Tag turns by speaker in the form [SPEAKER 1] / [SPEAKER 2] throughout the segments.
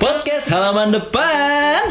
[SPEAKER 1] halaman depan.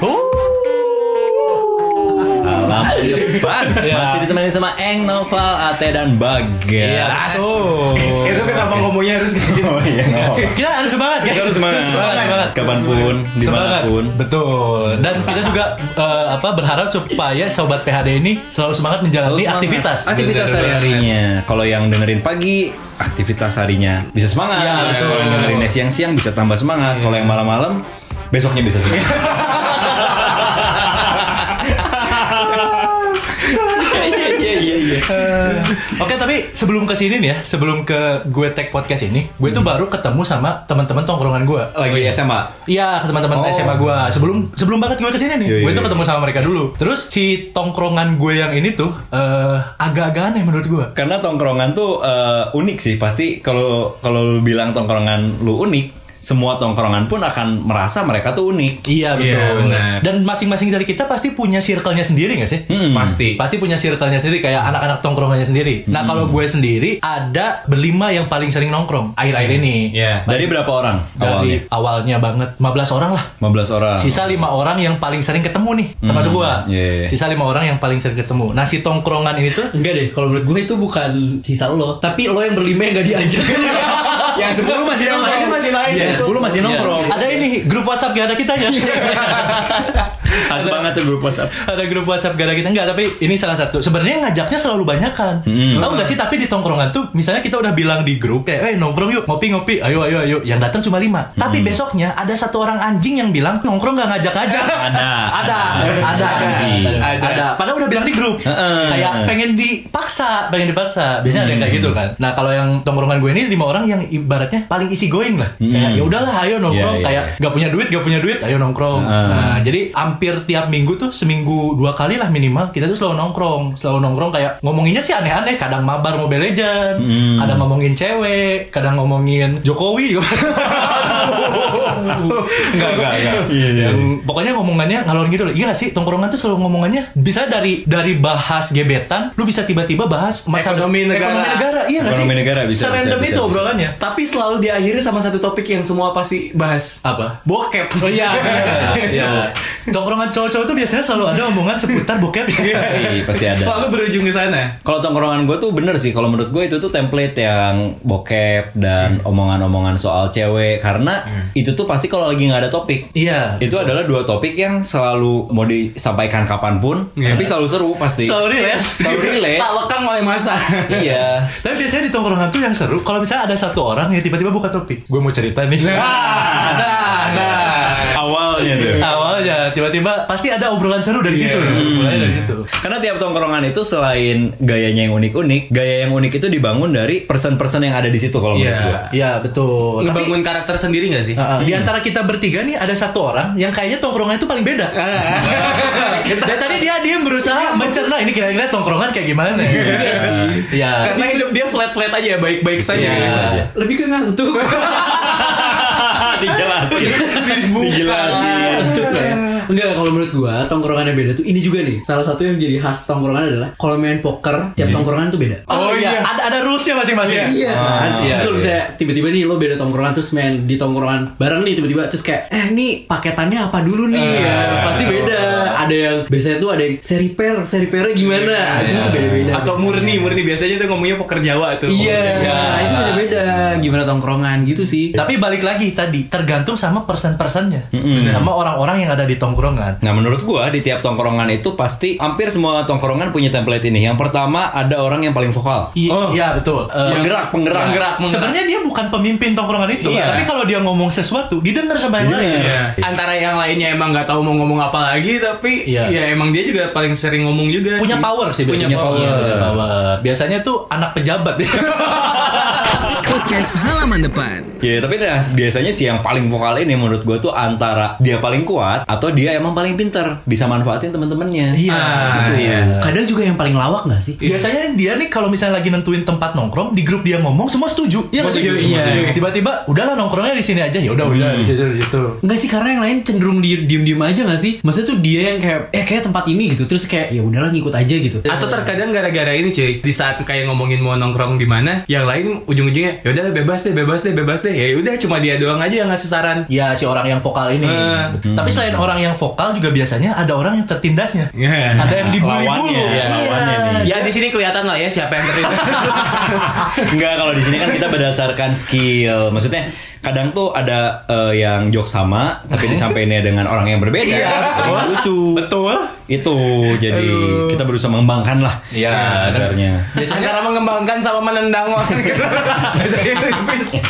[SPEAKER 1] Halaman depan.
[SPEAKER 2] Iya.
[SPEAKER 1] Masih ditemani sama Eng, Noval, Ate dan Bagas.
[SPEAKER 2] Oh.
[SPEAKER 3] Itu kenapa ngomongnya harus gitu.
[SPEAKER 1] Iya, Oh iya, Noval.
[SPEAKER 2] Kita harus semangat guys.
[SPEAKER 1] Kita harus semangat.
[SPEAKER 2] Semangat, semangat.
[SPEAKER 1] Kapanpun, dimanapun.
[SPEAKER 2] Betul. Dan kita juga eh, apa berharap supaya sobat PHD ini selalu semangat menjalani
[SPEAKER 1] Selalu semangat.
[SPEAKER 2] aktivitas.
[SPEAKER 1] Aktivitas
[SPEAKER 3] Bener, bener,
[SPEAKER 1] sehari-harinya. Kalau yang dengerin pagi, aktivitas harinya bisa semangat.
[SPEAKER 2] Iya, betul.
[SPEAKER 1] Kalau yang dengerinnya siang-siang bisa tambah semangat. Kalau yang malam-malam, besoknya bisa semangat. Iya, iya, iya, iya.
[SPEAKER 2] Eh, Oke, tapi sebelum ke sini nih ya, sebelum ke gue tag podcast ini, gue
[SPEAKER 1] Hmm.
[SPEAKER 2] tuh baru ketemu sama teman-teman tongkrongan gue.
[SPEAKER 1] Lagi SMA.
[SPEAKER 2] Iya, ke teman-teman
[SPEAKER 1] Oh.
[SPEAKER 2] SMA gue. Sebelum sebelum banget gue kesini nih,
[SPEAKER 1] Iya,
[SPEAKER 2] gue
[SPEAKER 1] iya,
[SPEAKER 2] tuh
[SPEAKER 1] iya.
[SPEAKER 2] ketemu sama mereka dulu. Terus si tongkrongan gue yang ini tuh eh, agak-agak aneh menurut gue.
[SPEAKER 1] Karena tongkrongan tuh eh, unik sih. Pasti kalau kalau lu bilang tongkrongan lu unik, semua tongkrongan pun akan merasa mereka tuh unik.
[SPEAKER 2] Iya betul.
[SPEAKER 3] Iya, benar.
[SPEAKER 2] Dan masing-masing dari kita pasti punya circle-nya sendiri gak sih?
[SPEAKER 1] Hmm.
[SPEAKER 3] Pasti.
[SPEAKER 2] Pasti punya circle-nya sendiri kayak anak-anak tongkrongannya sendiri.
[SPEAKER 1] Hmm.
[SPEAKER 2] Nah, kalau gue sendiri ada berlima yang paling sering nongkrong akhir-akhir ini.
[SPEAKER 3] Iya.
[SPEAKER 1] Dari berapa orang
[SPEAKER 2] Dari
[SPEAKER 1] Hmm. awalnya?
[SPEAKER 2] awalnya. banget 15 orang lah.
[SPEAKER 1] 15 orang.
[SPEAKER 2] Sisa lima orang yang paling sering ketemu nih, termasuk
[SPEAKER 1] Hmm,
[SPEAKER 2] gue.
[SPEAKER 1] iya, iya.
[SPEAKER 2] Sisa lima orang yang paling sering ketemu. Nah, si tongkrongan ini tuh
[SPEAKER 4] Enggak deh, kalau menurut gue itu bukan sisa lo, tapi lo yang berlima yang gak diajak.
[SPEAKER 1] yang 10 masih
[SPEAKER 4] Yang
[SPEAKER 1] nongkrong.
[SPEAKER 4] lainnya masih lain.
[SPEAKER 1] Iya,
[SPEAKER 4] Yang
[SPEAKER 1] 10 masih
[SPEAKER 4] Iya.
[SPEAKER 1] nongkrong.
[SPEAKER 2] ada ini grup WhatsApp gak ada ya? kitanya.
[SPEAKER 1] Khas banget tuh grup WhatsApp.
[SPEAKER 2] ada grup WhatsApp gara kita enggak tapi ini salah satu sebenarnya ngajaknya selalu banyak kan
[SPEAKER 1] Mm.
[SPEAKER 2] tahu nggak sih tapi di tongkrongan tuh misalnya kita udah bilang di grup kayak eh nongkrong yuk ngopi ngopi ayo ayo ayo yang datang cuma lima
[SPEAKER 1] Hmm.
[SPEAKER 2] tapi besoknya ada satu orang anjing yang bilang nongkrong nggak ngajak ngajak
[SPEAKER 1] Ada,
[SPEAKER 2] ada ada
[SPEAKER 1] ada. Anjing.
[SPEAKER 2] ada ada padahal udah bilang di grup
[SPEAKER 1] Heeh. Hmm.
[SPEAKER 2] kayak pengen dipaksa pengen dipaksa biasanya ada yang kayak gitu kan nah kalau yang tongkrongan gue ini lima orang yang ibaratnya paling easy going lah kayak
[SPEAKER 1] Mm.
[SPEAKER 2] ya udahlah ayo nongkrong
[SPEAKER 1] Iya, iya,
[SPEAKER 2] kayak
[SPEAKER 1] iya.
[SPEAKER 2] nggak punya duit nggak punya duit ayo nongkrong
[SPEAKER 1] Heeh.
[SPEAKER 2] nah jadi hampir tiap minggu tuh seminggu dua kali lah minimal kita tuh selalu nongkrong selalu nongkrong kayak ngomonginnya sih aneh-aneh kadang mabar mobile legend
[SPEAKER 1] Hmm.
[SPEAKER 2] kadang ngomongin cewek kadang ngomongin jokowi Enggak, enggak, enggak.
[SPEAKER 1] Iya, iya.
[SPEAKER 2] Yang pokoknya ngomongannya ngalor gitu loh. Iya gak sih tongkrongan tuh selalu ngomongannya bisa dari dari bahas gebetan, lu bisa tiba-tiba bahas
[SPEAKER 4] Ekonomi negara.
[SPEAKER 2] Ekonomi negara, iya gak sih?
[SPEAKER 1] Ekonomi negara, bisa,
[SPEAKER 2] Serandom
[SPEAKER 1] bisa,
[SPEAKER 2] itu
[SPEAKER 1] bisa,
[SPEAKER 2] obrolannya.
[SPEAKER 4] tapi selalu diakhiri sama satu topik yang semua pasti bahas.
[SPEAKER 2] Apa?
[SPEAKER 4] Bokep. Oh
[SPEAKER 2] Iya, iya.
[SPEAKER 4] iya.
[SPEAKER 2] Tongkrongan cowok-cowok tuh biasanya selalu ada omongan seputar bokep. Iya,
[SPEAKER 1] Pasti, pasti ada.
[SPEAKER 4] Selalu berujung ke sana.
[SPEAKER 1] Kalau tongkrongan gue tuh bener sih. Kalau menurut gue itu tuh template yang bokep dan omongan-omongan soal cewek. Karena itu tuh pasti kalau lagi nggak ada topik.
[SPEAKER 2] Iya.
[SPEAKER 1] Itu adalah dua topik yang selalu mau disampaikan kapanpun, tapi selalu seru pasti.
[SPEAKER 2] Selalu relate.
[SPEAKER 1] Selalu relate.
[SPEAKER 4] Tak lekang oleh masa.
[SPEAKER 1] iya.
[SPEAKER 2] ya. Tapi biasanya di tongkrongan tuh yang seru kalau misalnya ada satu orang yang tiba-tiba buka topik. Gue mau cerita nih.
[SPEAKER 4] nah, nah.
[SPEAKER 1] Awalnya
[SPEAKER 2] Iya.
[SPEAKER 1] tuh.
[SPEAKER 2] Awalnya tiba-tiba pasti ada obrolan seru dari situ. Mulai dari situ.
[SPEAKER 1] Karena tiap tongkrongan itu selain gayanya yang unik-unik, gaya yang unik itu dibangun dari person-person yang ada di situ kalau menurut gue.
[SPEAKER 4] Iya.
[SPEAKER 2] Iya, betul. Tapi-
[SPEAKER 4] Ngebangun karakter sendiri gak sih?
[SPEAKER 2] Heeh, Iya. Di antara kita bertiga nih ada satu orang yang kayaknya tongkrongan itu paling beda. Dan tadi dia dia berusaha mencerna ini kira-kira tongkrongan kayak gimana. Iya.
[SPEAKER 4] Karena hidup dia flat-flat aja, baik-baik saja.
[SPEAKER 1] Iya.
[SPEAKER 4] Lebih ke ngantuk.
[SPEAKER 1] Dijelasin. Dijelasin.
[SPEAKER 4] ya. Enggak kalau menurut gua tongkrongannya beda tuh ini juga nih. Salah satu yang jadi khas tongkrongan adalah kalau main poker tiap tongkrongan tuh beda.
[SPEAKER 2] Oh, iya, ada ada rulesnya masing-masing.
[SPEAKER 5] Ah,
[SPEAKER 4] Iya, kan?
[SPEAKER 1] iya,
[SPEAKER 4] Terus
[SPEAKER 1] iya.
[SPEAKER 4] bisa tiba-tiba nih lo beda tongkrongan terus main di tongkrongan bareng nih tiba-tiba terus kayak eh nih paketannya apa dulu nih
[SPEAKER 5] Eh,
[SPEAKER 4] ya
[SPEAKER 5] iya,
[SPEAKER 4] pasti beda. Ada yang biasanya tuh ada yang seri pair, seri pairnya gimana? Anjing tuh beda-beda.
[SPEAKER 5] Iya, Atau murni, murni biasanya tuh ngomongnya poker Jawa tuh.
[SPEAKER 4] Iya, itu beda-beda gimana tongkrongan gitu sih.
[SPEAKER 2] Tapi balik lagi tadi tergantung sama person-personnya, sama orang-orang yang ada di tongkrongan.
[SPEAKER 1] Nah menurut gua di tiap tongkrongan itu pasti hampir semua tongkrongan punya template ini. Yang pertama ada orang yang paling vokal. Oh.
[SPEAKER 2] Iya,
[SPEAKER 5] oh.
[SPEAKER 2] iya, betul. Eh,
[SPEAKER 1] Penggerak, penggerak.
[SPEAKER 2] Sebenarnya dia bukan pemimpin tongkrongan itu,
[SPEAKER 1] Iya.
[SPEAKER 2] tapi kalau dia ngomong sesuatu didengar sama yang lain.
[SPEAKER 1] Iya.
[SPEAKER 5] Antara yang lainnya emang nggak tahu mau ngomong apa lagi, tapi
[SPEAKER 2] Iya.
[SPEAKER 5] ya emang dia juga paling sering ngomong juga.
[SPEAKER 2] Punya
[SPEAKER 5] sih.
[SPEAKER 2] power sih biasanya.
[SPEAKER 5] Punya power.
[SPEAKER 2] Iya, punya power. Biasanya tuh anak pejabat.
[SPEAKER 6] Podcast halaman depan.
[SPEAKER 1] Ya tapi nah, biasanya sih yang paling vokal ini menurut gua tuh antara dia paling kuat atau dia emang paling pinter bisa manfaatin temen-temennya.
[SPEAKER 2] Iya.
[SPEAKER 5] Ah, iya.
[SPEAKER 4] gitu ya. Kadang juga yang paling lawak gak sih?
[SPEAKER 2] Biasanya dia nih kalau misalnya lagi nentuin tempat nongkrong di grup dia ngomong semua setuju. Iya nggak sih?
[SPEAKER 4] Setuju, iya.
[SPEAKER 2] Setuju. Tiba-tiba udahlah nongkrongnya di sini aja. Ya udah udah di situ di situ.
[SPEAKER 4] Enggak sih karena yang lain cenderung di- diem-diem aja gak sih? Maksudnya tuh dia yang kayak eh kayak tempat ini gitu terus kayak ya udahlah ngikut aja gitu.
[SPEAKER 5] Atau terkadang gara-gara ini cuy Di saat kayak ngomongin mau nongkrong di mana Yang lain ujung-ujungnya yaudah bebas deh bebas deh bebas deh ya udah cuma dia doang aja yang ngasih saran
[SPEAKER 2] Ya si orang yang vokal ini.
[SPEAKER 5] Eh.
[SPEAKER 2] Tapi selain orang yang vokal juga biasanya ada orang yang tertindasnya.
[SPEAKER 5] Iya.
[SPEAKER 2] Ada yang dibully
[SPEAKER 1] Lawannya.
[SPEAKER 2] dulu.
[SPEAKER 1] Iya, lawannya
[SPEAKER 5] ya di sini kelihatan lah ya siapa yang terlibat
[SPEAKER 1] Enggak kalau di sini kan kita berdasarkan skill. Maksudnya kadang tuh ada eh, yang joke sama tapi disampaikannya dengan orang yang berbeda. Jadi lucu.
[SPEAKER 5] Iya. betul
[SPEAKER 1] Itu jadi kita berusaha mengembangkan lah Nah,
[SPEAKER 5] Iya.
[SPEAKER 1] dasarnya.
[SPEAKER 5] ya antara mengembangkan sama menendang orang gitu Bedanya tipis.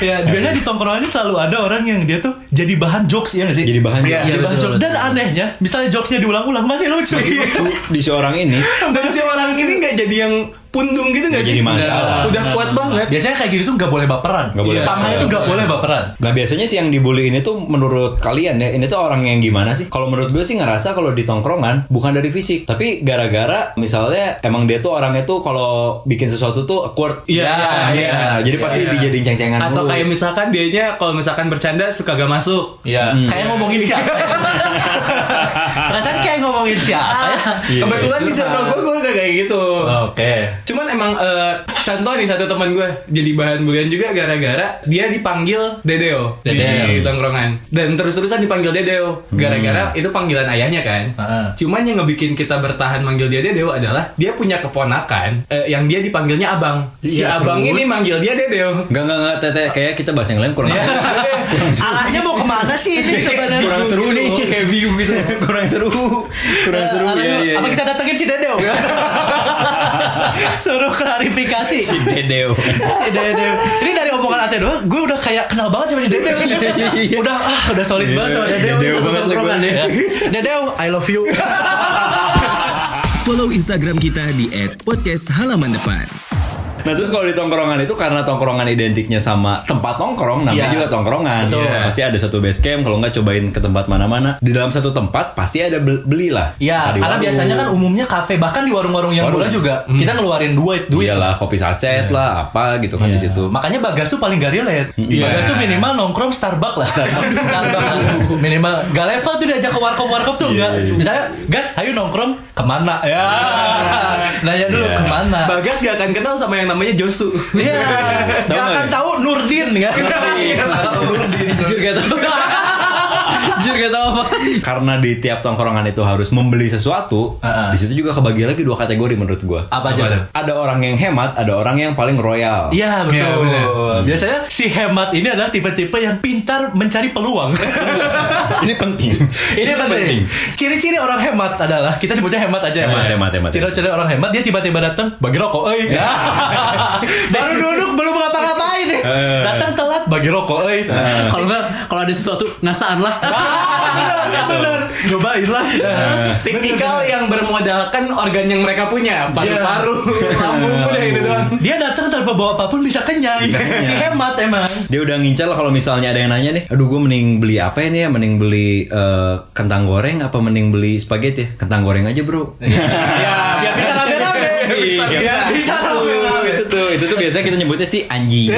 [SPEAKER 2] Ya, biasanya di tongkrongan ini selalu ada orang yang dia tuh jadi bahan jokes ya nggak sih?
[SPEAKER 1] Jadi bahan
[SPEAKER 2] Iya,
[SPEAKER 1] joke.
[SPEAKER 2] jadi
[SPEAKER 4] betul,
[SPEAKER 2] bahan jokes.
[SPEAKER 4] betul,
[SPEAKER 2] Dan anehnya, misalnya jokesnya diulang-ulang masih lucu.
[SPEAKER 1] Lucu di seorang ini
[SPEAKER 5] dan si orang ini nggak jadi yang pundung gitu nggak
[SPEAKER 1] Nggak
[SPEAKER 5] sih
[SPEAKER 1] jadi masalah.
[SPEAKER 5] udah kuat banget
[SPEAKER 2] Biasanya kayak gini tuh nggak boleh
[SPEAKER 1] Iya.
[SPEAKER 2] baperan.
[SPEAKER 1] Nggak boleh.
[SPEAKER 2] Tangannya tuh nggak boleh baperan.
[SPEAKER 1] Nah biasanya sih yang dibully ini tuh menurut kalian ya Ini tuh orang yang gimana sih? Kalau menurut gue sih ngerasa kalau di tongkrongan Bukan dari fisik Tapi gara-gara misalnya Emang dia tuh orangnya tuh kalau bikin sesuatu tuh awkward kan? Nah,
[SPEAKER 5] Iya, iya,
[SPEAKER 1] Ya, Jadi
[SPEAKER 5] iya,
[SPEAKER 1] pasti
[SPEAKER 5] iya.
[SPEAKER 1] dijadiin ceng-cengan
[SPEAKER 5] atau
[SPEAKER 1] mulu.
[SPEAKER 5] kayak misalkan dianya kalau misalkan bercanda suka gak masuk ya
[SPEAKER 2] Kayak ngomongin siapa? ya? Perasaan kayak ngomongin siapa? ya?
[SPEAKER 5] kebetulan di circle gue gue gak kayak gitu
[SPEAKER 2] Oke.
[SPEAKER 5] Cuman emang eh, contoh nih satu teman gue jadi bahan bulian juga gara-gara dia dipanggil Dedeo, di
[SPEAKER 4] Dedeo.
[SPEAKER 5] tongkrongan dan terus-terusan dipanggil Dedeo gara-gara itu panggilan ayahnya kan.
[SPEAKER 2] Heeh.
[SPEAKER 5] Cuman yang ngebikin kita bertahan manggil dia Dedeo adalah dia punya keponakan eh, yang dia dipanggilnya abang. Si
[SPEAKER 4] Iya,
[SPEAKER 5] abang
[SPEAKER 4] terus?
[SPEAKER 5] ini manggil dia Dedeo.
[SPEAKER 1] Enggak, enggak, enggak, teteh Kayak kita bahas yang lain kurang
[SPEAKER 5] Iya.
[SPEAKER 1] seru Kurang seru.
[SPEAKER 2] Arahnya mau kemana sih ini sebenarnya?
[SPEAKER 1] Kurang seru nih Kayak gitu Kurang seru Kurang seru
[SPEAKER 2] Arahnya-
[SPEAKER 1] Iya, iya,
[SPEAKER 2] apa
[SPEAKER 1] iya.
[SPEAKER 2] kita datengin si Dedeo? Suruh klarifikasi. Si
[SPEAKER 1] Dedeo
[SPEAKER 2] Dedeo. Iya, Ini dari omongan Ate doang, gue udah kayak kenal banget sama si Dedeo. udah ah, udah solid banget sama Dedeo.
[SPEAKER 1] Dedeo
[SPEAKER 2] Satu
[SPEAKER 1] banget lah gue.
[SPEAKER 2] tongkrongan ya. Dedeo, I love you.
[SPEAKER 6] Follow Instagram kita di @podcasthalamandepan.
[SPEAKER 1] Nah terus kalau di tongkrongan itu karena tongkrongan identiknya sama tempat tongkrong namanya
[SPEAKER 2] Iya.
[SPEAKER 1] juga tongkrongan. Iya. Pasti ada satu base camp kalau nggak cobain ke tempat mana-mana. Di dalam satu tempat pasti ada bel- belilah.
[SPEAKER 2] Ya,
[SPEAKER 1] Entah di
[SPEAKER 2] karena
[SPEAKER 1] warung.
[SPEAKER 2] biasanya kan umumnya kafe bahkan di warung-warung yang
[SPEAKER 1] Warung.
[SPEAKER 2] murah juga kita ngeluarin duit duit. Iya.
[SPEAKER 1] Iyalah kopi saset lah apa gitu kan di situ.
[SPEAKER 2] Makanya Bagas tuh paling gak relate. Bagas tuh minimal nongkrong Starbucks lah. Hmm, iya. Starbucks. Starbucks. minimal gak level tuh diajak ke warkop-warkop tuh enggak. Misalnya, Gas, ayo nongkrong kemana? Ya. Nanya dulu
[SPEAKER 1] Iya.
[SPEAKER 2] kemana.
[SPEAKER 5] Bagas gak akan kenal sama yang namanya Josu.
[SPEAKER 2] Iya.
[SPEAKER 1] Tahu
[SPEAKER 2] Gak
[SPEAKER 1] nggak,
[SPEAKER 2] akan
[SPEAKER 1] Gas?
[SPEAKER 2] tahu Nurdin kan. Nurdin.
[SPEAKER 4] Jujur gak tau Jujur gak tau apa
[SPEAKER 1] Karena di tiap tongkrongan itu harus membeli sesuatu.
[SPEAKER 2] Heeh.
[SPEAKER 1] Di situ juga kebagi lagi dua kategori menurut gua.
[SPEAKER 2] Apa aja? tuh?
[SPEAKER 1] Ada orang yang hemat, ada orang yang paling royal.
[SPEAKER 2] Iya
[SPEAKER 5] Iya,
[SPEAKER 2] betul.
[SPEAKER 5] bener.
[SPEAKER 2] Biasanya si hemat ini adalah tipe-tipe yang pintar mencari peluang.
[SPEAKER 1] Ini penting.
[SPEAKER 2] Ini penting. Ciri-ciri orang hemat adalah kita nyebutnya hemat aja
[SPEAKER 1] Hemat,
[SPEAKER 2] ya.
[SPEAKER 1] hemat, hemat.
[SPEAKER 2] Ciri-ciri orang hemat dia tiba-tiba datang bagi rokok, eh. Baru duduk belum ngapa-ngapain nih.
[SPEAKER 1] Eh.
[SPEAKER 2] Datang telat bagi rokok, eh.
[SPEAKER 4] Kalau enggak Kalau ada sesuatu Ngasaan lah
[SPEAKER 2] Bener, bener. Cobain lah.
[SPEAKER 5] Ah. Tipikal yang bermodalkan organ yang mereka punya,
[SPEAKER 2] Iya.
[SPEAKER 5] paru-paru, lambung udah gitu doang.
[SPEAKER 2] Dia datang tanpa bawa apapun bisa kenyang. Si hemat emang.
[SPEAKER 1] Dia udah ngincar kalau misalnya ada yang nanya nih, aduh gue mending beli apa ini ya, mending beli eh, kentang goreng apa mending beli spaghetti ya? Kentang goreng aja bro.
[SPEAKER 5] Ya, biar
[SPEAKER 2] Iya, Bisa rame-rame.
[SPEAKER 5] Bisa,
[SPEAKER 2] Iya, Bisa rame-rame. Iya.
[SPEAKER 1] itu tuh, itu tuh biasanya kita nyebutnya sih anjing.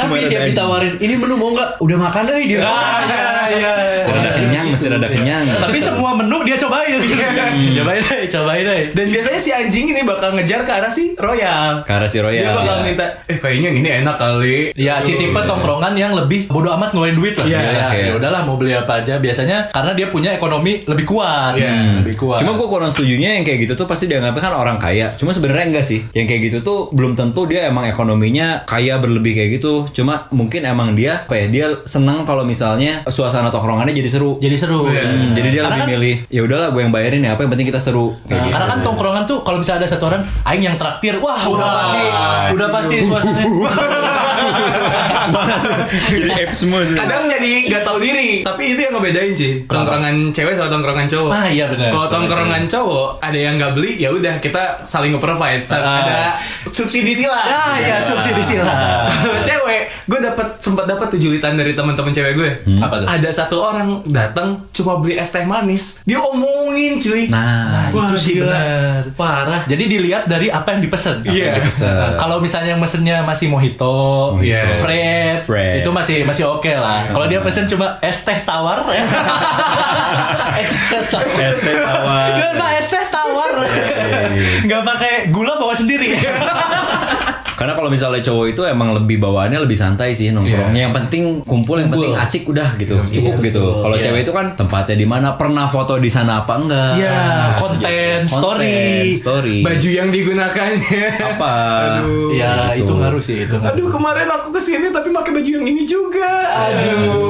[SPEAKER 4] Tapi dia ditawarin Ini menu mau gak Udah makan eh dia
[SPEAKER 2] Ah, iya, iya.
[SPEAKER 1] Masih ada kenyang, masih ada kenyang.
[SPEAKER 2] Tapi semua menu dia cobain. Cobain deh, cobain deh.
[SPEAKER 5] Dan biasanya si anjing ini bakal ngejar ke arah si Royal.
[SPEAKER 1] Karena si Royal.
[SPEAKER 4] Iya,
[SPEAKER 1] Iya.
[SPEAKER 5] Dia bakal minta, eh kayaknya yang ini enak kali.
[SPEAKER 2] Ya si tipe tongkrongan yang lebih bodoh amat ngeluarin duit lah.
[SPEAKER 1] Iya,
[SPEAKER 2] ya,
[SPEAKER 1] iya.
[SPEAKER 2] ya udahlah mau beli apa aja. Biasanya karena dia punya ekonomi lebih kuat. Hmm.
[SPEAKER 5] Iya.
[SPEAKER 2] Lebih kuat.
[SPEAKER 1] Hmm. Cuma gue kurang setujunya yang kayak gitu tuh pasti dianggapnya kan orang kaya. Cuma sebenarnya enggak sih. Yang kayak gitu tuh belum tentu dia emang ekonominya kaya berlebih kayak gitu. Cuma mungkin emang dia apa ya dia seneng kalau misalnya suasana tongkrongannya jadi seru.
[SPEAKER 2] jadi seru.
[SPEAKER 1] Hmm, jadi dia
[SPEAKER 2] Oh,
[SPEAKER 1] lebih
[SPEAKER 2] Karena kan-
[SPEAKER 1] milih ya udahlah gue yang bayarin ya apa yang penting kita seru
[SPEAKER 2] Nah,
[SPEAKER 1] kayak gitu.
[SPEAKER 2] karena kan tongkrongan tuh kalau misalnya ada satu orang aing yang traktir, wah udah pasti udah pasti suasana. kan-
[SPEAKER 1] jadi apps semua
[SPEAKER 2] Iya.
[SPEAKER 1] tuh.
[SPEAKER 5] Kadang jadi gak tahu diri. Tapi itu yang ngebedain sih. Tongkrongan cewek sama tongkrongan cowok.
[SPEAKER 2] Ah, iya, benar.
[SPEAKER 5] Kalau tongkrongan cowok ada yang nggak beli, ya udah kita saling nge-provide. Sa-
[SPEAKER 2] Ah.
[SPEAKER 5] Ada subsidi sila.
[SPEAKER 2] Ah, iya, subsidi sila.
[SPEAKER 5] Kalau cewek, gue dapat sempat dapat tuh julitan dari teman-teman cewek gue.
[SPEAKER 2] Apa tuh?
[SPEAKER 5] Ada satu orang datang cuma beli es teh manis. Dia omongin cuy.
[SPEAKER 1] Nah,
[SPEAKER 2] itu sih benar.
[SPEAKER 5] Parah.
[SPEAKER 2] Jadi dilihat dari apa yang dipesan.
[SPEAKER 5] Iya.
[SPEAKER 2] Apa yang dipesan. Nah, kalau misalnya yang mesennya masih mojito,
[SPEAKER 5] Mojito.
[SPEAKER 2] Fred,
[SPEAKER 1] Fred.
[SPEAKER 2] itu masih masih oke lah. Kalau dia pesen cuma es teh tawar, es teh tawar.
[SPEAKER 1] ST tawar.
[SPEAKER 2] Pak es teh tawar. nggak pakai gula bawa sendiri
[SPEAKER 1] Karena kalau misalnya cowok itu emang lebih bawaannya lebih santai sih
[SPEAKER 2] Iya.
[SPEAKER 1] nongkrongnya. Yang penting kumpul, yang penting asik udah gitu, cukup gitu. Kalau
[SPEAKER 2] Iya.
[SPEAKER 1] cewek itu kan tempatnya di mana, pernah foto di sana apa enggak? Iya.
[SPEAKER 2] ya konten
[SPEAKER 1] Konten,
[SPEAKER 2] story
[SPEAKER 1] story.
[SPEAKER 5] Baju yang digunakannya.
[SPEAKER 1] apa?
[SPEAKER 5] Aduh.
[SPEAKER 2] ya
[SPEAKER 1] Gitu.
[SPEAKER 2] itu ngaruh sih itu ngaruh.
[SPEAKER 5] Aduh kemarin aku kesini tapi pakai baju yang ini juga. Aduh.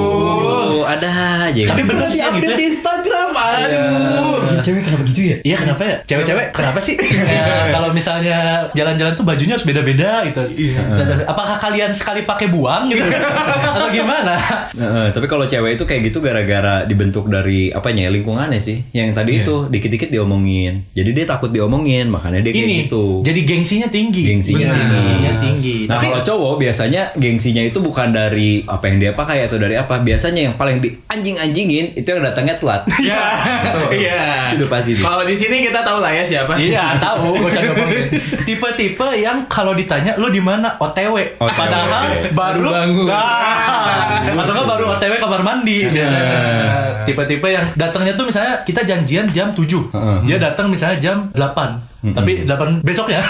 [SPEAKER 1] Oh, ada aja.
[SPEAKER 2] tapi
[SPEAKER 1] gitu.
[SPEAKER 2] bener sih yang gitu
[SPEAKER 4] update di Instagram
[SPEAKER 2] aduh cewek kenapa gitu ya iya kenapa ya cewek-cewek kenapa sih Ya, kalau misalnya jalan-jalan tuh bajunya harus beda-beda gitu Dan- dan- apakah kalian sekali pakai buang gitu atau gimana
[SPEAKER 1] Heeh, tapi kalau cewek itu kayak gitu gara-gara dibentuk dari apanya ya, lingkungannya sih. Yang tadi
[SPEAKER 2] Iya.
[SPEAKER 1] itu dikit-dikit diomongin. Jadi dia takut diomongin, makanya dia kayak
[SPEAKER 2] ini
[SPEAKER 1] gitu.
[SPEAKER 2] jadi gengsinya tinggi
[SPEAKER 1] gengsinya
[SPEAKER 2] Bener.
[SPEAKER 1] tinggi.
[SPEAKER 2] Iya, Gengsinya tinggi
[SPEAKER 1] Nah
[SPEAKER 2] tapi
[SPEAKER 1] kalau cowok biasanya gengsinya itu bukan dari apa yang dia pakai atau dari apa. Biasanya yang paling dianjing-anjingin itu yang datangnya telat.
[SPEAKER 5] Iya. Iya.
[SPEAKER 1] Udah pasti tuh.
[SPEAKER 5] Kalau di sini kita tahu lah ya siapa.
[SPEAKER 2] Iya tahu, gak usah ngomongin. Tipe-tipe yang kalau ditanya lu di mana OTW,
[SPEAKER 1] OTW.
[SPEAKER 2] padahal baru lu-
[SPEAKER 5] bangun.
[SPEAKER 2] Nah, atau nggak baru OTW kamar mandi biasanya. Tipe-tipe yang datangnya tuh misalnya kita janjian jam 7 dia datang misalnya jam 8 tapi 8 besoknya.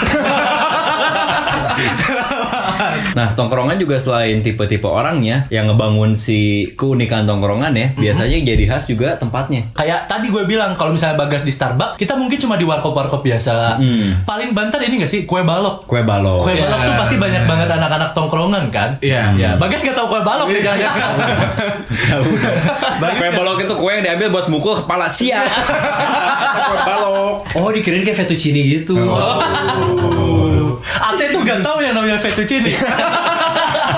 [SPEAKER 1] Nah tongkrongan juga selain tipe-tipe orangnya yang ngebangun si keunikan tongkrongan ya. Biasanya jadi khas juga tempatnya.
[SPEAKER 2] Kayak tadi gue bilang kalau misalnya bagas di Starbucks kita mungkin cuma di warkop-warkop biasa.
[SPEAKER 1] Mm. Oh,
[SPEAKER 2] Paling banter ini gak sih kue balok.
[SPEAKER 1] Kue balok. Ya.
[SPEAKER 2] Kue
[SPEAKER 5] iya.
[SPEAKER 2] balok tuh pasti banyak banget anak-anak tongkrongan kan?
[SPEAKER 5] Iya.
[SPEAKER 2] Ya, Bagas gak tahu kue balok nih jangan-jangan.
[SPEAKER 1] kue balok itu kue yang diambil buat mukul kepala
[SPEAKER 2] Iya.
[SPEAKER 1] siang. kue balok.
[SPEAKER 4] Oh dikirain kayak fettuccine gitu
[SPEAKER 2] Oh. Ate tuh gak tahu yang namanya fettuccine.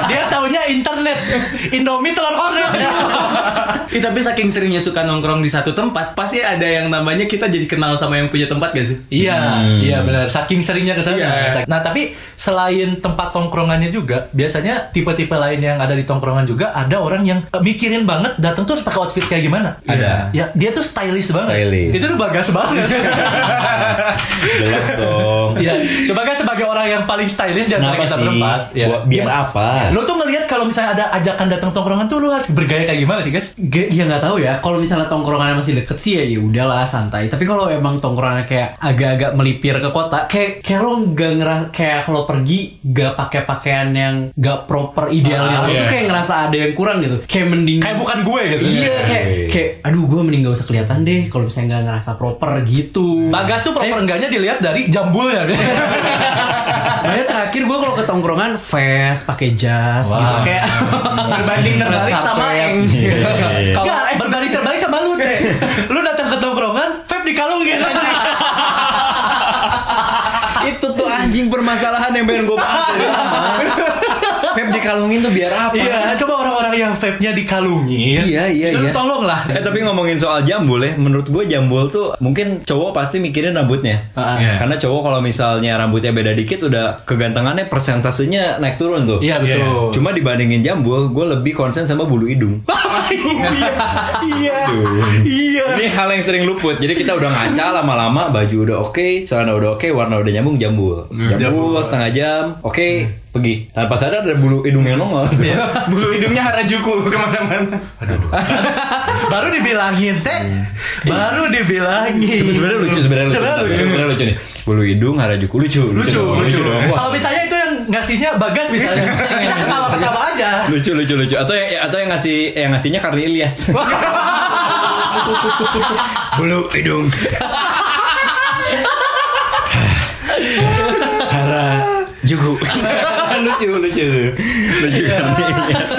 [SPEAKER 2] Dia taunya internet. Indomie telur kornet.
[SPEAKER 5] Ih, tapi saking seringnya suka nongkrong di satu tempat, pasti ada yang namanya kita jadi kenal sama yang punya tempat gak sih?
[SPEAKER 2] Iya, iya benar. Saking seringnya kesana.
[SPEAKER 5] Iya.
[SPEAKER 2] Nah tapi selain tempat tongkrongannya juga, biasanya tipe-tipe lain yang ada di tongkrongan juga ada orang yang eh, mikirin banget datang tuh harus pakai outfit kayak gimana.
[SPEAKER 1] Ada.
[SPEAKER 2] Ya dia tuh stylish banget.
[SPEAKER 1] Stylish.
[SPEAKER 2] Itu tuh bagas banget.
[SPEAKER 1] Jelas dong.
[SPEAKER 2] Iya. Coba kan sebagai orang yang paling stylish di antara
[SPEAKER 1] Kenapa
[SPEAKER 2] kita
[SPEAKER 1] sih?
[SPEAKER 2] berempat. ya.
[SPEAKER 1] Gua- biar apa?
[SPEAKER 2] Lu tuh ngelihat kalau misalnya ada ajakan datang tongkrongan tuh lu harus bergaya kayak gimana sih, guys?
[SPEAKER 4] Ge- ya nggak tahu ya kalau misalnya tongkrongannya masih deket sih ya ya udahlah santai tapi kalau emang tongkrongannya kayak agak-agak melipir ke kota kayak kayak lo nggak ngerasa kayak kalau pergi nggak pakai pakaian yang nggak proper idealnya lo
[SPEAKER 5] Ah, iya.
[SPEAKER 4] tuh kayak ngerasa ada yang kurang gitu kayak mending
[SPEAKER 2] Kayak bukan gue gitu.
[SPEAKER 4] iya kayak
[SPEAKER 1] Iya.
[SPEAKER 4] kayak aduh gue mending gak usah kelihatan deh kalau misalnya nggak ngerasa proper gitu Eh,
[SPEAKER 2] Bagas tuh proper enggaknya dilihat dari jambulnya.
[SPEAKER 1] Iya.
[SPEAKER 4] Makanya terakhir gue kalau ke tongkrongan vest pakai jas
[SPEAKER 2] Wah.
[SPEAKER 4] gitu kayak berbanding terbalik sama
[SPEAKER 1] Iya.
[SPEAKER 4] yang
[SPEAKER 5] Iya,
[SPEAKER 2] Kalau berbalik terbalik sama lu deh. Lu datang ke tongkrongan, vape di kalung gitu.
[SPEAKER 1] itu tuh anjing permasalahan yang pengen gue bahas dari lama. Vape Iya, dikalungin tuh biar apa?
[SPEAKER 2] Iya, coba orang-orang yang vape-nya dikalungin.
[SPEAKER 1] Iya, iya,
[SPEAKER 2] Itu
[SPEAKER 1] iya.
[SPEAKER 2] Tolonglah.
[SPEAKER 1] Eh tapi ngomongin soal jambul ya, menurut gue jambul tuh mungkin cowok pasti mikirin rambutnya.
[SPEAKER 5] Iya.
[SPEAKER 1] Karena cowok kalau misalnya rambutnya beda dikit udah kegantengannya persentasenya naik turun tuh.
[SPEAKER 2] Iya betul.
[SPEAKER 1] Cuma dibandingin jambul, gue lebih konsen sama bulu hidung.
[SPEAKER 2] Iya. Iya.
[SPEAKER 1] Ini hal yang sering luput. Jadi kita udah ngaca lama-lama, baju udah oke, celana udah oke, warna udah nyambung, jambul.
[SPEAKER 2] Hmm.
[SPEAKER 1] Jambul setengah jam, oke, pergi. Tanpa sadar ada bulu hidung yang nongol.
[SPEAKER 2] Iya.
[SPEAKER 5] Bulu hidungnya Harajuku kemana-mana.
[SPEAKER 2] baru dibilangin teh baru dibilangin
[SPEAKER 1] sebenarnya lucu sebenarnya lucu.
[SPEAKER 2] sebenarnya lucu
[SPEAKER 1] Sebenarnya lucu nih. Bulu hidung Harajuku lucu,
[SPEAKER 2] lucu
[SPEAKER 1] dong,
[SPEAKER 2] lucu
[SPEAKER 1] dong. Wah,
[SPEAKER 2] kalau misalnya itu yang ngasihnya bagas misalnya kita ketawa ketawa aja
[SPEAKER 1] lucu lucu lucu atau yang atau yang ngasih yang ngasihnya Karni Ilyas bulu hidung Hara Jugu lucu lucu lucu Karni Ilyas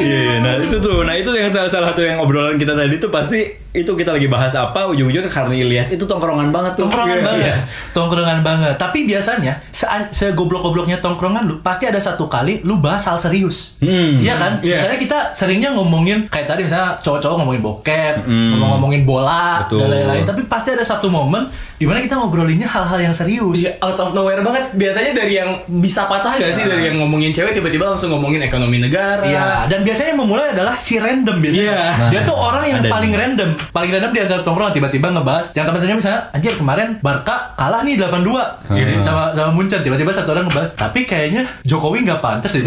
[SPEAKER 1] Iya, iya. nah itu tuh, nah itu yang salah, salah satu yang obrolan kita tadi tuh pasti itu kita lagi bahas apa ujung-ujungnya Karni Ilyas itu tongkrongan banget tuh. Iya.
[SPEAKER 2] tongkrongan banget tongkrongan banget tapi biasanya se- segoblok-gobloknya tongkrongan lu pasti ada satu kali lu bahas hal serius
[SPEAKER 1] Hmm.
[SPEAKER 2] iya kan
[SPEAKER 5] Iya.
[SPEAKER 2] misalnya kita seringnya ngomongin kayak tadi misalnya cowok-cowok ngomongin bokep ngomong ngomongin bola
[SPEAKER 1] Hmm. Betul.
[SPEAKER 2] dan lain-lain tapi pasti ada satu momen dimana kita ngobrolinnya hal-hal yang serius
[SPEAKER 5] Iya, out of nowhere banget. Biasanya dari yang bisa patah gak sih dari yang ngomongin cewek tiba-tiba langsung ngomongin ekonomi negara.
[SPEAKER 1] Eh,
[SPEAKER 2] Iya, dan biasanya yang memulai adalah si random biasanya. Nah,
[SPEAKER 5] Iya.
[SPEAKER 2] Dia tuh orang yang
[SPEAKER 1] ada
[SPEAKER 2] paling random, paling random di antara tongkrongan tiba-tiba ngebahas yang teman-temannya misalnya anjir kemarin Barca kalah nih 8-2
[SPEAKER 1] Iya.
[SPEAKER 2] gitu, sama sama Munchen tiba-tiba satu orang ngebahas, tapi kayaknya Jokowi nggak pantas ya.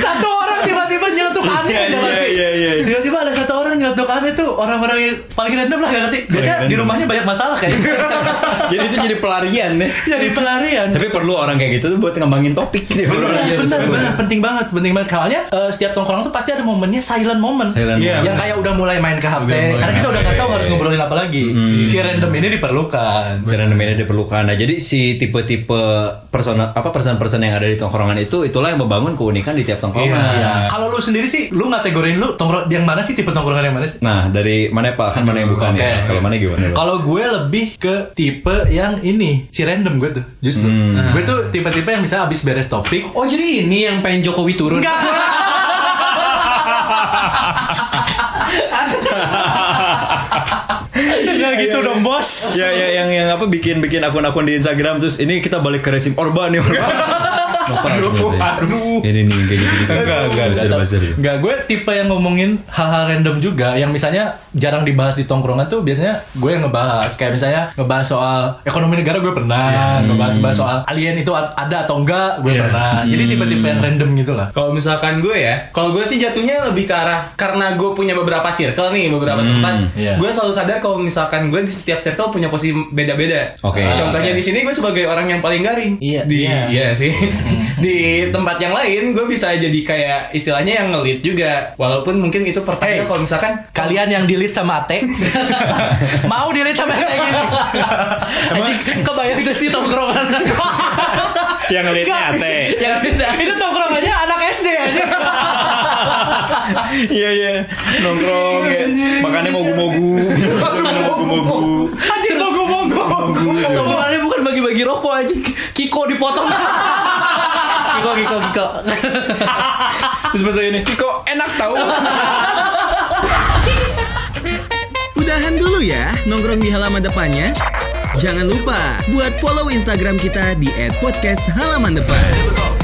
[SPEAKER 2] satu orang tiba-tiba nyelotok aneh aja pasti.
[SPEAKER 1] iya, iya, iya.
[SPEAKER 2] orang-orang yang paling random lah gak ngerti. Biasanya
[SPEAKER 1] Paling
[SPEAKER 2] di
[SPEAKER 1] random.
[SPEAKER 2] rumahnya banyak masalah kayaknya.
[SPEAKER 1] jadi itu jadi pelarian ya.
[SPEAKER 2] Jadi pelarian.
[SPEAKER 1] Tapi perlu orang kayak gitu tuh buat ngembangin topik sih.
[SPEAKER 2] Benar,
[SPEAKER 1] gitu.
[SPEAKER 2] benar, benar, penting banget, penting banget. Soalnya eh, setiap tongkrong tuh pasti ada momennya silent moment.
[SPEAKER 1] Silent
[SPEAKER 2] Iya,
[SPEAKER 1] moment.
[SPEAKER 2] Yang kayak udah mulai main ke Hmm. HP.
[SPEAKER 5] mulai
[SPEAKER 2] Karena kita
[SPEAKER 5] main
[SPEAKER 2] udah
[SPEAKER 5] HP.
[SPEAKER 2] gak tahu harus ngobrolin apa lagi. Si random ini diperlukan.
[SPEAKER 1] Si random ini diperlukan. Nah, jadi si tipe-tipe personal apa person-person yang ada di tongkrongan itu itulah yang membangun keunikan di tiap tongkrongan.
[SPEAKER 2] Iya. Kalau lu sendiri sih, lu kategorin lu tongkrong yang mana sih tipe tongkrongan yang mana sih?
[SPEAKER 1] Nah, dari mana Pak? Kan mana yang bukan
[SPEAKER 2] Oke.
[SPEAKER 1] ya? Kalau mana gimana? Pak?
[SPEAKER 2] Kalau gue lebih ke tipe yang ini, si random gue tuh. Justru. Gue tuh tipe-tipe yang misalnya abis beres topik,
[SPEAKER 4] Oh jadi ini yang pengen Jokowi turun?
[SPEAKER 2] Enggak. Jangan gitu dong bos.
[SPEAKER 1] Iya, ya ya yang yang apa bikin bikin akun-akun di Instagram terus ini kita balik ke resim Orba nih Orba. aduh, aduh. Ini nih gini gini. Enggak, enggak,
[SPEAKER 2] Enggak,
[SPEAKER 1] enggak,
[SPEAKER 2] tapi- enggak, gue tipe yang ngomongin hal-hal random juga yang misalnya jarang dibahas di tongkrongan tuh biasanya gue yang ngebahas kayak misalnya ngebahas soal ekonomi negara gue pernah, ngebahas bahas soal alien itu a- ada atau enggak gue pernah. Jadi tipe-tipe yang random gitu lah.
[SPEAKER 5] Kalau misalkan gue ya, kalau gue sih jatuhnya lebih ke arah karena gue punya beberapa circle nih, beberapa tempat.
[SPEAKER 2] iya.
[SPEAKER 5] Gue selalu sadar kalau misalkan gue di setiap circle punya posisi beda-beda.
[SPEAKER 1] Oke.
[SPEAKER 5] Contohnya
[SPEAKER 2] oke.
[SPEAKER 5] di sini gue sebagai orang yang paling garing.
[SPEAKER 2] Iya,
[SPEAKER 5] Di,
[SPEAKER 2] iya. Hmm.
[SPEAKER 5] sih. di tempat yang lain gue bisa jadi kayak istilahnya yang ngelit juga. Walaupun mungkin itu pertanda
[SPEAKER 2] Hey.
[SPEAKER 5] kalau misalkan
[SPEAKER 2] Kalian yang dilit sama Ate Mau dilit sama Ate gini Anjing, Kebayang itu sih tongkrongan
[SPEAKER 1] Yang ngeliatnya Ate.
[SPEAKER 2] Yang tidak Itu tongkrongannya anak SD aja
[SPEAKER 1] Iya iya. Nongkrong ya. Makannya mogu-mogu. Mogu-mogu.
[SPEAKER 2] Anjing mogo-mogo
[SPEAKER 4] Tongkrongannya bukan bagi-bagi rokok aja Kiko dipotong Kiko, Kiko, Kiko
[SPEAKER 1] Terus masa ini kok enak tahu.
[SPEAKER 6] Udahan dulu ya nongkrong di halaman depannya. Jangan lupa buat follow Instagram kita di @podcast halaman depan.